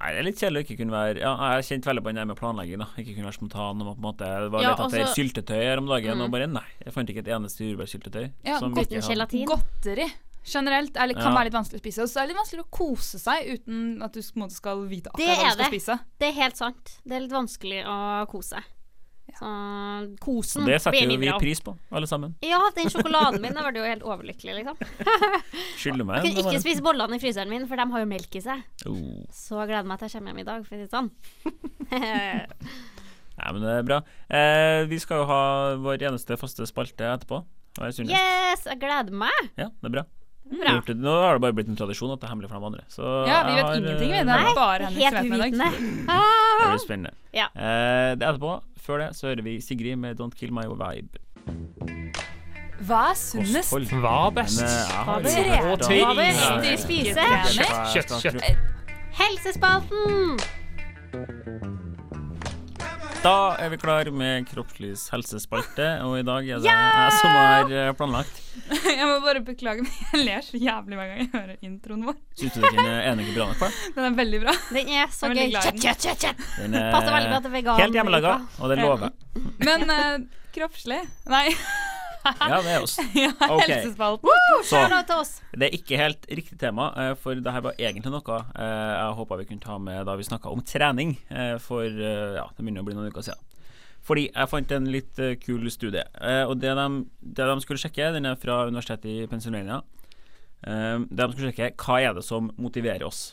G: Nei, det er litt kjedelig å ikke kunne være Ja, jeg har kjent veldig på den der med planlegging, da. Ikke kunne være spontan. Og på en måte, det var
J: Ja, altså- Mm.
G: litt etter
J: også-
G: syltetøy her om dagen, og bare nei. Jeg fant ikke et eneste jordbærsyltetøy.
I: Ja,
G: som
J: Uten
G: ikke hadde-
J: gelatin.
I: Godteri generelt er, litt- kan
G: Ja.
I: være litt vanskelig å spise. Og så er det litt vanskelig å kose seg uten at du på en måte skal vite
J: Det
I: akkurat hva
J: er
I: du skal
J: det.
I: spise.
J: Det er helt sant. Det er litt vanskelig å kose seg. Så kosen
G: Det setter
J: blir
G: jo vi
J: mindre av.
G: pris på, alle sammen.
J: Ja, den sjokoladen min, da ble jeg jo helt overlykkelig, liksom.
G: Skylder meg.
J: Jeg kunne
G: det var
J: ikke
G: en-
J: spise bollene i fryseren min, for de har jo melk i seg.
G: Oh.
J: Så jeg gleder meg til jeg kommer hjem i dag, for å si det sånn.
G: Nei, men det er bra. Eh, vi skal jo ha vår eneste faste spalte etterpå. Og jeg synes,
J: Yes, jeg gleder meg.
G: Ja, det er bra.
J: Bra.
G: Gjort det- Nå har det bare blitt en tradisjon at det er hemmelig for de andre. Så
I: Ja, vi
G: jeg
I: vet
G: har,
I: ingenting, vi.
G: eh,
I: Det er
G: bra.
I: bare Henrik
J: Helt
I: som vet med i dag.
J: uvitende.
G: Det blir spennende.
J: Ja.
G: Eh, det er etterpå. Før det så hører vi Sigrid med 'Don't Kill My Vibe'.
I: Hva er sunnest?
G: Kosthold.
K: Hva er
G: Men,
K: best?
G: eh, jeg har
I: Hva
G: jo
I: er
G: hørt
K: rett?
G: om-
K: Hva er
G: Ja,
I: riktig?
G: ja.
J: Spise
K: Kjøtt, kjøtt.
J: helsespalten.
G: Da er vi klar med Kroppslys helsespalte, og i dag er det jeg som har eh, planlagt.
I: Jeg må bare beklage, men jeg ler så jævlig hver gang jeg hører introen vår.
G: Syns du det kunne ene ikke bra nok for deg?
I: Den er veldig bra.
J: Den er så
I: Jeg er
J: gøy.
I: veldig glad i
J: Kjøtt,
I: den.
J: kjøtt, kjøtt, kjøtt.
G: Den er
J: Passer veldig bra til vegan.
G: eh, Helt hjemmelaga, og det
I: Ja.
G: lover jeg.
I: Men eh, kroppslig Nei,
G: Ja, det er oss.
I: ja,
G: Ok.
I: helsespalten.
G: Så
J: Shout out til oss.
G: det er ikke helt riktig tema, eh, for det her var egentlig noe eh, jeg håpa vi kunne ta med da vi snakka om trening eh, for eh, ja, det begynner å bli noen uker siden. Fordi jeg fant en litt eh, kul studie. eh, Og det de, det de skulle sjekke, den er fra universitetet i Pennsylvania. Eh, Det de skulle sjekke, hva er det som motiverer oss?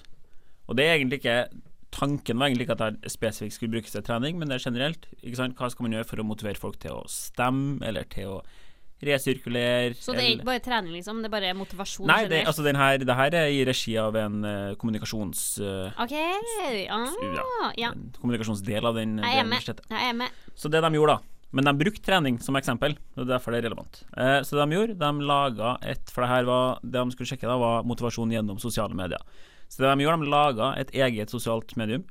G: Og det er egentlig ikke Tanken var egentlig ikke at det her spesifikt skulle brukes til trening, men det er generelt. Ikke sant? Hva skal man gjøre for å motivere folk til å stemme, eller til å resirkulere?
J: Så det er
G: eller-
J: ikke bare trening, liksom. Det er bare motivasjon.
G: Nei, det,
J: generelt.
G: altså den her, det her er i regi av en eh, kommunikasjons... eh,
J: OK. Ah, ja.
G: en kommunikasjonsdel av den,
J: Jeg
G: det
J: er med.
G: universitetet.
J: Jeg er med.
G: Så det de gjorde da, men de brukte trening som eksempel, og det er derfor det er relevant. Eh, så det de gjorde, de laget et, for det her var, det de skulle sjekke da, var motivasjon gjennom sosiale medier. Så det de gjorde, de laget et eget sosialt medium,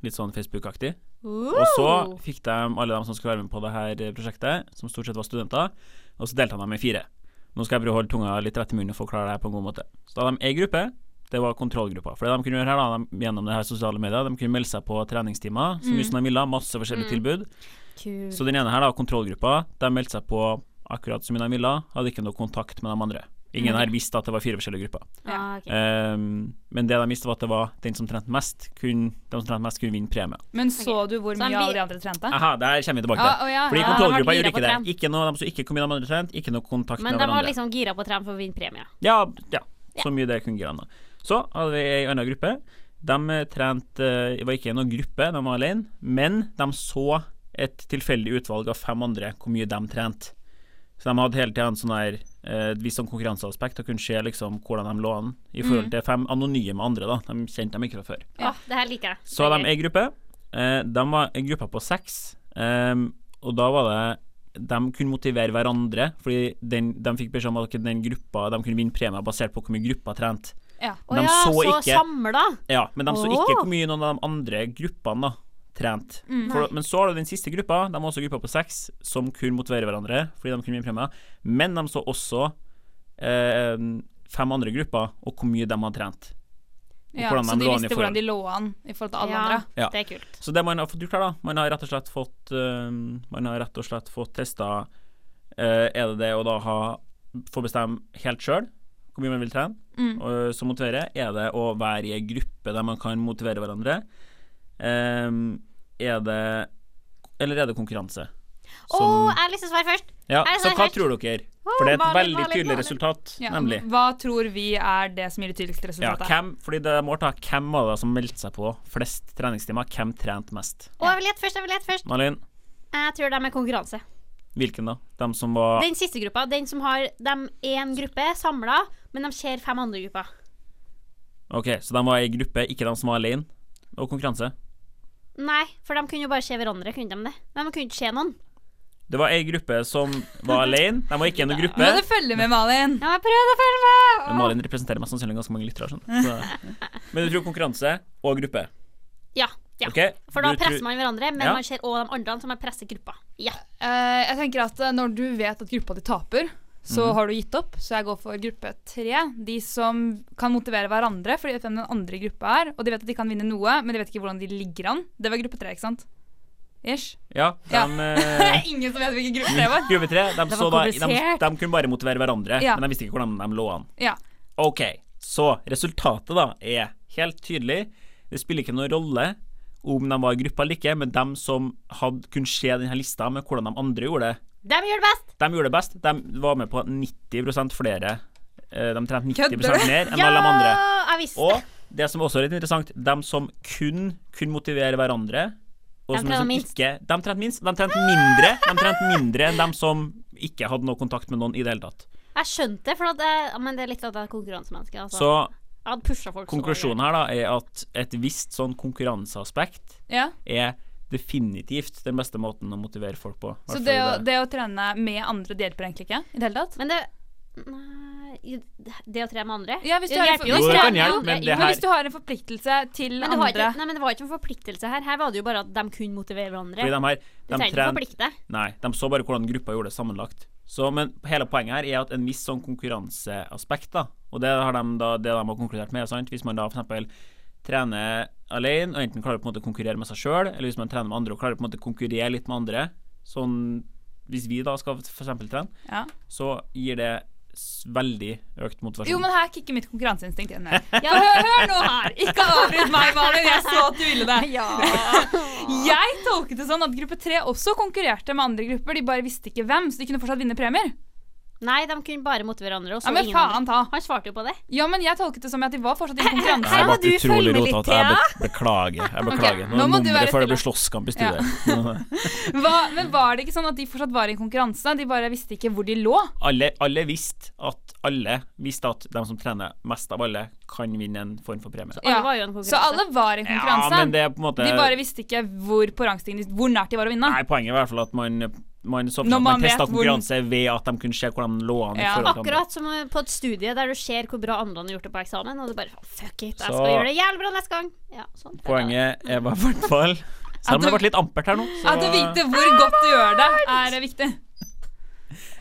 G: litt sånn Facebook-aktig, og så fikk de alle de som skulle være med på det her prosjektet, som stort sett var studenter, og så delte de dem i fire. Nå skal jeg prøve å holde tunga litt rett i munnen og forklare det her på en god måte. Så da hadde de ei gruppe, det var kontrollgruppa. For det de kunne gjøre her da, de, gjennom det her sosiale medier, de kunne melde seg på treningstimer så mye som de ville, masse forskjellige tilbud. Så den ene her, da, kontrollgruppa, de meldte seg på akkurat som de ville, hadde ikke noe kontakt med de andre. Ingen her visste at det var fire forskjellige grupper.
J: Ah, ok.
G: Ehm, men det de visste, var at det var den som trente mest, kunne, de som trente mest, kunne vinne premie.
I: Men så du hvor
J: Så han
I: mye alle
J: blir-
I: de andre trente?
G: Aha, det her kommer vi tilbake til.
I: Ja, Ah, å ja,
G: Fordi
I: ja,
J: de
G: kontrollgruppa
J: var
G: gjorde
J: gira
G: ikke
J: på
G: det.
J: trent.
G: Ikke noe, de som ikke kom inn, de andre trent, ikke noe kontakt
J: Men
G: med
J: de
G: hverandre.
J: var liksom gira på å trene for å vinne premie.
G: Ja, ja. Så mye det kunne gjøre da. Så hadde vi ei anna gruppe. De eh, trente eh, var ikke i noen gruppe, de var alene, men de så et tilfeldig utvalg av fem andre hvor mye de trente. Så de hadde hele tida en sånn her eh, et visst sånn konkurranseaspekt og kunne se liksom hvordan de lå an i forhold til fem anonyme andre, da. De kjente dem ikke fra før.
J: Ja. det her liker jeg.
G: Så hadde de ei gruppe. Eh, de var en gruppe på seks. ehm, og da var det De kunne motivere hverandre, fordi den, de fikk beskjed om at den gruppa De kunne vinne premier basert på hvor mye gruppa trente.
I: Ja.
J: Å
G: de
J: ja,
G: så
J: så
G: ikke-
J: samla.
G: Ja, men de så
J: Åh. Mm,
G: ikke hvor mye noen av de andre gruppene da trente. For- Men så har du den siste gruppa, de var også gruppa på seks, som kunne motivere hverandre fordi de kunne vinne premier. Men de så også eh, fem andre grupper, og hvor mye de hadde trent. Og
I: Ja,
G: hvordan
I: så
G: de
I: de
G: lå an i
I: visste
G: forhold.
I: hvordan de lå an i forhold til alle
J: Ja,
I: andre?
G: Ja.
J: det er kult.
G: Så det man har fått gjort her, da Man har rett og slett fått eh, Man har rett og slett fått testa eh, Er det det å da ha få bestemme helt sjøl, hvor mye man vil trene,
I: Mm.
G: og, som motiverer. Er det å være i ei gruppe der man kan motivere hverandre? Ehm, er det Eller er det konkurranse?
J: Å,
G: Som-
J: jeg har lyst til å svare først.
G: ja,
J: jeg
G: så
I: sånn
J: svarer
G: hva
J: først.
G: tror dere?
J: Å,
G: For det er et
J: Malin,
G: veldig
J: Malin,
G: tydelig
J: Malin.
G: resultat,
I: Ja, Mm,
G: nemlig.
I: Hva tror vi er det som gir det tydeligste
G: Ja,
I: resultatet?
G: hvem, fordi det er målt da, hvem var det som meldte seg på flest treningstimer? Hvem trente mest?
J: Å, jeg vil gjette først. Jeg vil gjette først.
G: Malin,
J: Jeg tror de er konkurranse.
G: hvilken da? Dem som var
J: Den siste gruppa, den som har dem én gruppe samla, men de ser fem andre grupper.
G: Ok, så de var i gruppe, ikke de som var alene. Og konkurranse.
J: Nei, for de kunne jo bare se hverandre, kunne de det? De kunne ikke se noen.
G: Det var ei gruppe som var alene. De var ikke i noen
I: Nå
G: gruppe.
I: må du følge med, Malin.
J: Ja, jeg prøvde å følge med!
G: Men Malin representerer mest sannsynlig ganske mange lyttere. skjønner du. Så- Men du tror konkurranse og gruppe?
J: Ja, ja.
G: Ok,
J: For da
G: du
J: presser
G: tror-
J: man hverandre, men
G: Ja.
J: man ser også de andre som har presset gruppa. Ja.
I: Eh, jeg tenker at eh, Når du vet at gruppa di taper, så
G: Mhm.
I: har du gitt opp. Så jeg går for gruppe tre. De som kan motivere hverandre, for de vet hvem den andre gruppa er. Og de vet at de kan vinne noe, men de vet ikke hvordan de ligger an. Det var gruppe tre, ikke sant? Ish.
G: Ja, de,
I: Ja. Det
G: eh,
I: er ingen som vet hvilken gruppe det var.
G: Gruppe tre, de, så da, de,
J: komplisert.
G: de kunne bare motivere hverandre,
I: Ja.
G: men de visste ikke hvordan de lå an.
I: Ja.
G: Ok, så resultatet da er helt tydelig. Det spiller ikke noen rolle om de var i gruppa eller ikke, men dem som hadde, kunne se denne lista med hvordan de andre gjorde det,
J: De gjør det best!
G: de gjorde det best. De var med på 90 flere. Eh, De trente 90
I: Kødder du?
G: mer enn alle de andre.
J: jeg visste det.
G: Og det som også er litt interessant, de som kun kunne motivere hverandre og
J: De
G: som
J: trente
G: liksom
J: minst.
G: Ikke, de trente minst. De trente mindre De trente mindre enn dem som ikke hadde noe kontakt med noen i det hele tatt.
J: Jeg skjønte det, for at jeg, men det er litt at jeg er konkurransemenneske. Altså.
G: Så
J: jeg hadde pusha folk. så
G: konklusjonen her da er at et visst sånn konkurranseaspekt
I: ja.
G: er definitivt den beste måten å motivere folk på.
I: Så
G: Hvertfall
I: det å,
G: i
I: det å trene med andre, det hjelper egentlig ikke? I det hele tatt?
J: mye. Men det Nei Det å tre med andre?
I: Ja, hvis du
J: Det
I: har en
J: hjelper jo
G: Jo, det
I: forpliktelse-
G: kan hjelpe, men det
I: men
G: her-
I: hvis du har en forpliktelse til
J: Men det, var ikke,
I: andre
J: nei, men det var ikke en forpliktelse her. Her var det jo bare at de kunne motivere hverandre.
G: Fordi de her,
J: du
G: de
J: trenger ikke
G: trent-
J: forplikte.
G: Nei, de så bare hvordan gruppa gjorde det sammenlagt. Så, men hele poenget her er at en viss sånn konkurranseaspekt, da, og det har de, da, det de har konkludert med, er sant, hvis man da f.eks. trener alene og enten klarer på en måte å konkurrere med seg sjøl, eller hvis man trener med andre og klarer på en måte å konkurrere litt med andre, sånn hvis vi da skal f.eks. trene,
I: Ja.
G: så gir det s- veldig økt motivasjon.
I: Jo, men her kicker mitt konkurranseinstinkt igjen. her. Ja, hør, hør nå her! Ikke avbryt meg, Malin. Jeg så at du ville det. Jeg tolket det sånn at gruppe tre også konkurrerte med andre grupper. De bare visste ikke hvem, så de kunne fortsatt vinne premier.
J: Nei, de kunne bare motivere hverandre. Og så
I: Ja, men
J: ingen andre.
I: faen ta.
J: Han svarte jo på det.
I: Ja, men jeg tolket det som at de var fortsatt i en konkurranse.
G: Jeg ble
J: må du
G: utrolig
J: følge med litt,
G: rotete. Jeg be beklager. Jeg beklager.
I: nå
G: Nå,
I: må
G: må
I: du
G: nummeret
I: være
G: før det
I: stille.
G: blir slåsskamp i
I: Ja.
G: studiet.
I: Hva, men var det ikke sånn at de fortsatt var i en konkurranse? De bare visste ikke hvor de lå.
G: alle, alle visste at alle visste at de som trener mest av alle, kan vinne en form for premie.
J: Alle
I: Ja.
J: var jo en konkurranse.
I: Så alle var i en
G: Ja,
I: konkurranse.
G: men det er på en måte
I: De bare visste ikke hvor på rangstigen de- Hvor nært de var å vinne.
G: Nei, Poenget er i hvert fall at man, man, så for at
I: Når man
G: man testa
I: vet hvor-
G: konkurranse ved at de kunne se hvordan de lå an. i
I: Ja.
G: forhold til andre.
J: Akkurat som eh, på et studie der du ser hvor bra andre har gjort det på eksamen, og du bare fuck it, jeg skal
G: Så-
J: gjøre det jævlig bra neste gang. Ja, sånn.
G: Poenget er i hvert fall Selv om det
I: du-
G: ble litt ampert her nå. Så,
I: At å vite hvor godt du gjør det, er viktig.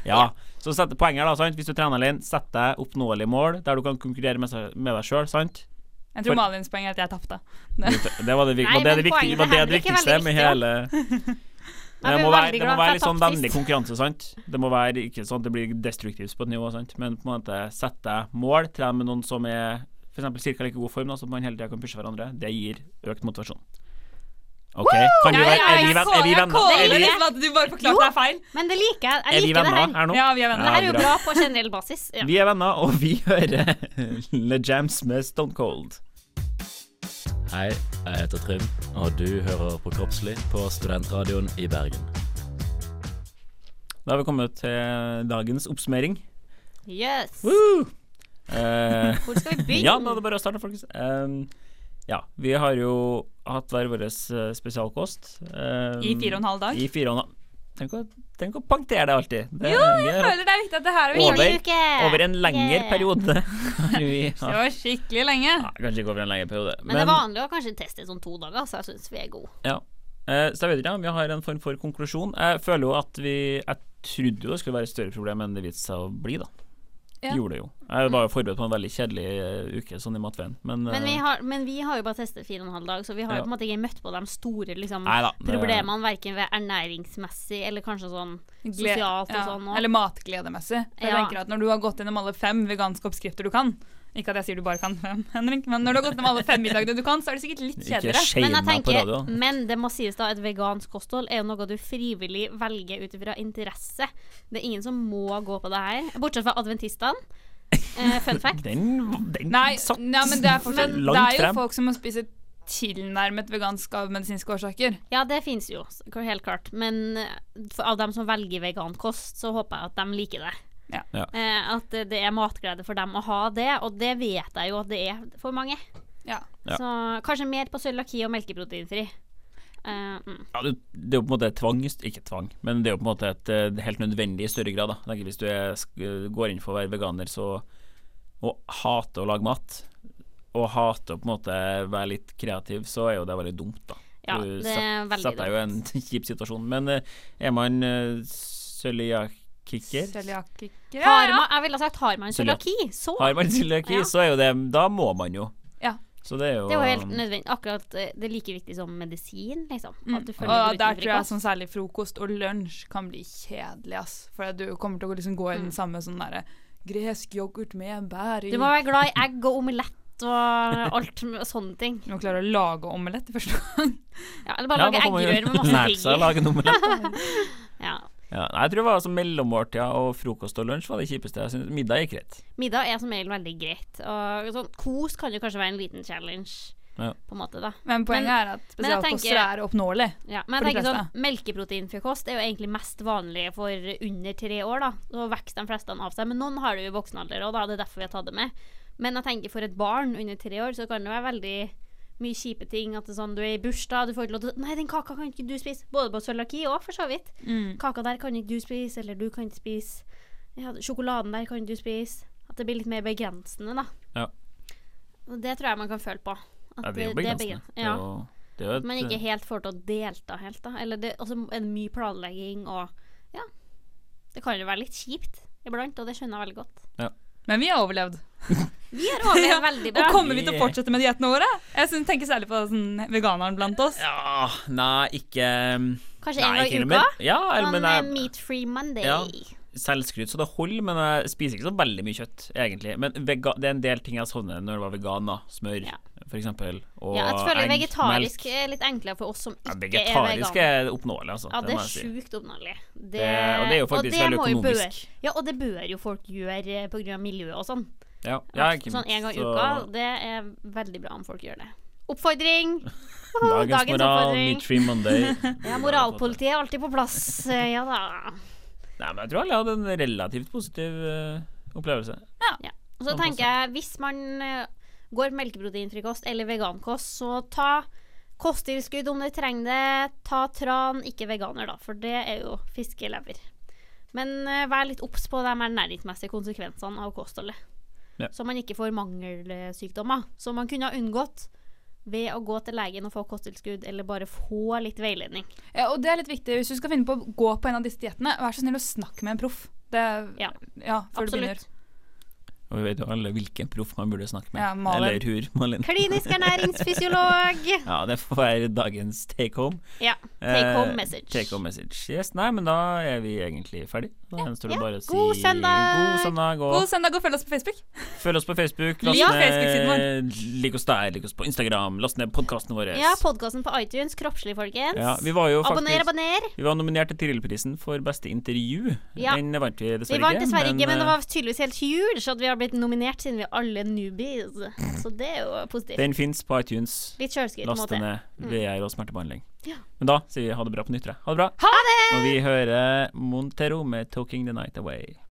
G: ja. så sett, poenget er da, sant? hvis du trener alene, sett deg oppnåelige mål der du kan konkurrere med, seg- med deg sjøl. Sant?
I: Jeg
G: For-
I: tror Malins poeng er at jeg tapte.
G: Det var det, vik-
J: Nei,
G: var det, det,
J: men
G: viktig,
J: poenget
G: var
J: er
G: det, det
J: heller ikke veldig
G: viktigste med
J: viktig, da.
G: hele
J: Jeg
G: Men det
J: ble
G: må være,
J: veldig
G: det må
J: glad for
G: være
J: jeg
G: litt sånn
J: tapte sist.
G: vennlig konkurranse, sant? Det må være ikke sånn at det blir destruktivt på et nivå, sant? Men på en måte sette deg mål, trene med noen som er for eksempel cirka like god form, da, så man hele tida kan pushe hverandre. Det gir økt motivasjon. OK, kan vi være Er vi, venn, er vi venner? Er vi,
I: liksom at du bare forklarte deg feil.
J: Men det liker jeg.
G: er
J: Jeg
G: vi
J: liker det
G: venner
J: her.
G: her nå?
I: Ja, vi er
J: Det
I: venner.
J: her er jo
G: bra.
J: bra på generell basis. Ja.
G: Vi er venner, og vi hører Le Jams med Stone Cold.
L: Hei, jeg heter Trym, og du hører på Kroppslig på Studentradioen i Bergen.
G: Da har vi kommet til dagens oppsummering.
J: Yes.
G: Woo! Eh,
J: Hvor skal vi begynne?
G: Ja, da er det bare å starte, folkens. Ehm, ja, vi har jo hatt hver vår eh, spesialkost. ehm,
I: I fire og en halv dag.
G: I fire og en halv Tenk å, tenk å punktere det alltid. Det,
I: Jo,
G: vi
I: jeg
G: har hatt
I: føler det er viktig at det her er
G: over,
I: viktig.
J: uke.
G: over en lengre
J: Yeah.
G: periode. har vi
I: Det
G: hatt-
I: var skikkelig lenge.
G: ja, kanskje ikke over en lengre periode.
J: Men, det er vanlig å kanskje teste i sånn to dager, så jeg syns vi er gode.
G: ja. Eh, så jeg vet ikke om vi har en form for konklusjon. Jeg føler jo at vi Jeg trodde jo det skulle være et større problem enn det viste seg å bli, da.
I: Ja. Mm.
G: Gjorde det jo. Jeg var jo forberedt på en veldig kjedelig eh, uke sånn i matveien, men,
J: Men vi,
G: eh,
J: har, men vi har jo bare testet fire og en halv dag, så vi har
G: Ja.
J: jo på en måte ikke møtt på de store liksom,
G: Neida, det-
J: problemene, verken ved ernæringsmessig eller kanskje sånn
I: Gle-
J: sosialt og
I: ja,
J: sånn.
I: Eller matgledemessig. For jeg
J: Ja.
I: tenker at Når du har gått gjennom alle fem veganske oppskrifter du kan Ikke at jeg sier du bare kan fem, Henrik, men når du har gått gjennom alle fem middagene du kan, så er det sikkert litt
G: Ikke
I: kjedeligere.
G: shame meg på radio, da.
J: men det må sies da, et vegansk kosthold er jo noe du frivillig velger ut ifra interesse. Det er ingen som må gå på det her, bortsett fra adventistene. Eh, fun fact.
G: den, den
I: Nei,
G: satt
I: nei, men det er, fortsatt,
G: sånn. langt
I: det er jo
G: frem.
I: folk som må spise tilnærmet vegansk av medisinske årsaker.
J: Ja, det finnes jo, s- helt klart. Men eh, for, av dem som velger vegankost, så håper jeg at de liker det.
G: Ja.
J: Eh, at det- det er matglede for dem å ha det, og det vet jeg jo at det er for mange.
I: Ja.
G: Ja.
J: Så kanskje mer på cøliaki og melkeproteinfri. Eh, mm.
G: ja, det, det er jo på en måte tvang, ikke tvang, men det er jo på en måte et, eh, helt nødvendig i større grad. Da. Jeg tenker Hvis du er, sk- går inn for å være veganer så, og hater å lage mat, og hater å på en måte være litt kreativ, så er jo det veldig dumt, da.
J: Ja,
G: du
J: det er
G: set-
J: veldig
G: setter deg jo i en kjip situasjon. Men eh, er man uh, cøliakiker
I: Cøliakiker.
J: Har man, jeg ville ha sagt har man
G: Cøliak-
J: cøliaki, så
G: Har man cøliaki,
J: Ja.
G: så er jo det Da må man jo.
I: Ja.
G: Så det er jo
J: Det er jo helt nødvendig. Akkurat eh, det er like viktig som medisin, liksom. At du følger
I: Og Mm. der
J: glutenfri
I: tror jeg
J: kost.
I: sånn særlig frokost og lunsj kan bli kjedelig, ass. For du kommer til å liksom gå i den samme sånn derre gresk yoghurt med bær i
J: Du må være glad i egg og omelett og alt med- sånne ting.
I: Du må klare å lage omelett i første gang.
J: Ja, eller bare lage eggerør med masse
G: lære seg å lage noe med det.
J: Ja.
G: Ja, nei, jeg tror det var altså mellommåltida og frokost og lunsj var det kjipeste. Jeg synes middag gikk greit.
J: Middag er som regel veldig greit. Og sånn, kos kan jo kanskje være en liten challenge,
G: Ja.
J: på en måte, da.
I: Men poenget er at
J: men jeg
I: spesialkoster
J: tenker-
I: er oppnåelig.
J: Ja, men
I: For
J: jeg
I: de
J: tenker sånn,
I: fleste.
J: Melkeproteinfrokost er jo egentlig mest vanlig for under tre år. da Så vokser de fleste av seg. Men noen har det jo i voksen alder, og da er det derfor vi har tatt det med. Men jeg tenker for et barn under tre år så kan det være veldig mye kjipe ting. At det er sånn, du er i bursdag, du får ikke lov til å Nei, den kaka kan ikke du spise. Både på cøliaki og for så vidt.
I: Mm.
J: Kaka der kan ikke du spise, eller du kan ikke spise. Ja, sjokoladen der kan ikke du spise. At det blir litt mer begrensende, da.
G: Ja.
J: Og det tror jeg man kan føle på. At
G: Ja, det er jo
J: begren-
G: begrensende. Det er
J: Ja.
G: jo- det er jo
J: At man ikke
G: et,
J: helt får til å delta helt, da. Eller det, også er det mye planlegging og Ja. Det kan jo være litt kjipt iblant, og det skjønner jeg veldig godt.
I: Men vi har overlevd.
J: Vi har overlevd veldig bra.
I: Og kommer vi til å fortsette med diettene våre? Jeg synes, tenker særlig på sånn, veganeren blant oss.
G: ah, Nei, ikke mm, nei, ikke
J: Kanskje en gang i
G: heller,
J: uka?
G: men- Ja, eller,
J: sånn
G: men
J: eh,
G: jeg,
J: Meat Free Monday.
G: Ja. Selvskryt så det holder, men jeg spiser ikke så veldig mye kjøtt, egentlig. Men vega, det er en del ting jeg savner når jeg var vegan, da. Smør, for eksempel. Og
J: ja, jeg føler
G: egg,
J: vegetarisk
G: melk.
J: er litt enklere for oss som
G: Ja,
J: ikke er
G: vegetarisk
J: vegan.
G: er oppnåelig, altså.
J: Ja, det
G: må
J: er
G: jeg si.
J: sjukt oppnåelig. Det,
G: og det er jo faktisk
J: og det
G: veldig
J: må jo
G: økonomisk.
J: Bør, ja, og det bør jo folk gjøre eh, pga. miljøet og sånn.
G: Ja, ja, ikke
J: Sånn en gang i
G: minst,
J: uka.
G: så-
J: Det er veldig bra om folk gjør det. Oppfordring!
G: Dagens, moral,
J: oppfordring.
G: meat free Monday.
J: Ja, moralpolitiet er alltid på plass. Eh, Ja da.
G: Nei, men jeg tror alle hadde en relativt positiv eh, opplevelse.
J: Ja. Og så tenker jeg, hvis man eh, går melkeproteinfri kost eller vegankost, så ta kosttilskudd om du trenger det. Ta tran, ikke veganer, da, for det er jo fiskelever. Men eh, vær litt obs på de ernæringsmessige konsekvensene av kostholdet.
G: Ja.
J: Så man ikke får mangelsykdommer. Som man kunne ha unngått ved å gå til legen og få kosttilskudd, eller bare få litt veiledning.
I: Ja, og det er litt viktig. Hvis du skal finne på å gå på en av disse diettene, vær så snill å snakke med en proff. Det, ja,
J: Ja,
I: før du
J: absolutt.
I: begynner.
G: Og vi vet jo alle hvilken proff man burde snakke med.
I: Ja, Malin.
G: Eller hur, Malin?
J: Klinisk ernæringsfysiolog!
G: Ja, det får være dagens take home.
J: Ja. Take home
G: Eh,
J: message.
G: Take home message. Yes, nei, men da er vi egentlig ferdig. Da gjenstår det bare å si
J: God søndag!
G: God søndag, og
I: God søndag, og følg oss på Facebook.
G: følg oss på Facebook.
I: Lik Facebook-siden
G: Lik oss der, lik oss på Instagram. Last ned podkastene våre.
J: Ja, podkasten på iTunes. Kroppslig, folkens.
G: Ja, vi var jo
J: abonner,
G: faktisk-
J: abonner.
G: Vi var nominert til Tiril-prisen for beste intervju.
J: Ja.
G: Den vant vi
J: Vi
G: dessverre
J: vant dessverre ikke, men det
G: eh,
J: var tydeligvis helt huge at vi har blitt nominert siden vi er alle newbies. Så det er jo positivt.
G: Den fins på iTunes.
J: Litt kjølskritt, på en
G: Last
J: måte. Mm.
G: den ned. VR og smertebehandling.
J: Ja.
G: Men da sier vi ha det bra på nytt. tror jeg. Ha det bra.
J: Ha det!
G: Og vi hører Montero med 'Talking the Night Away'.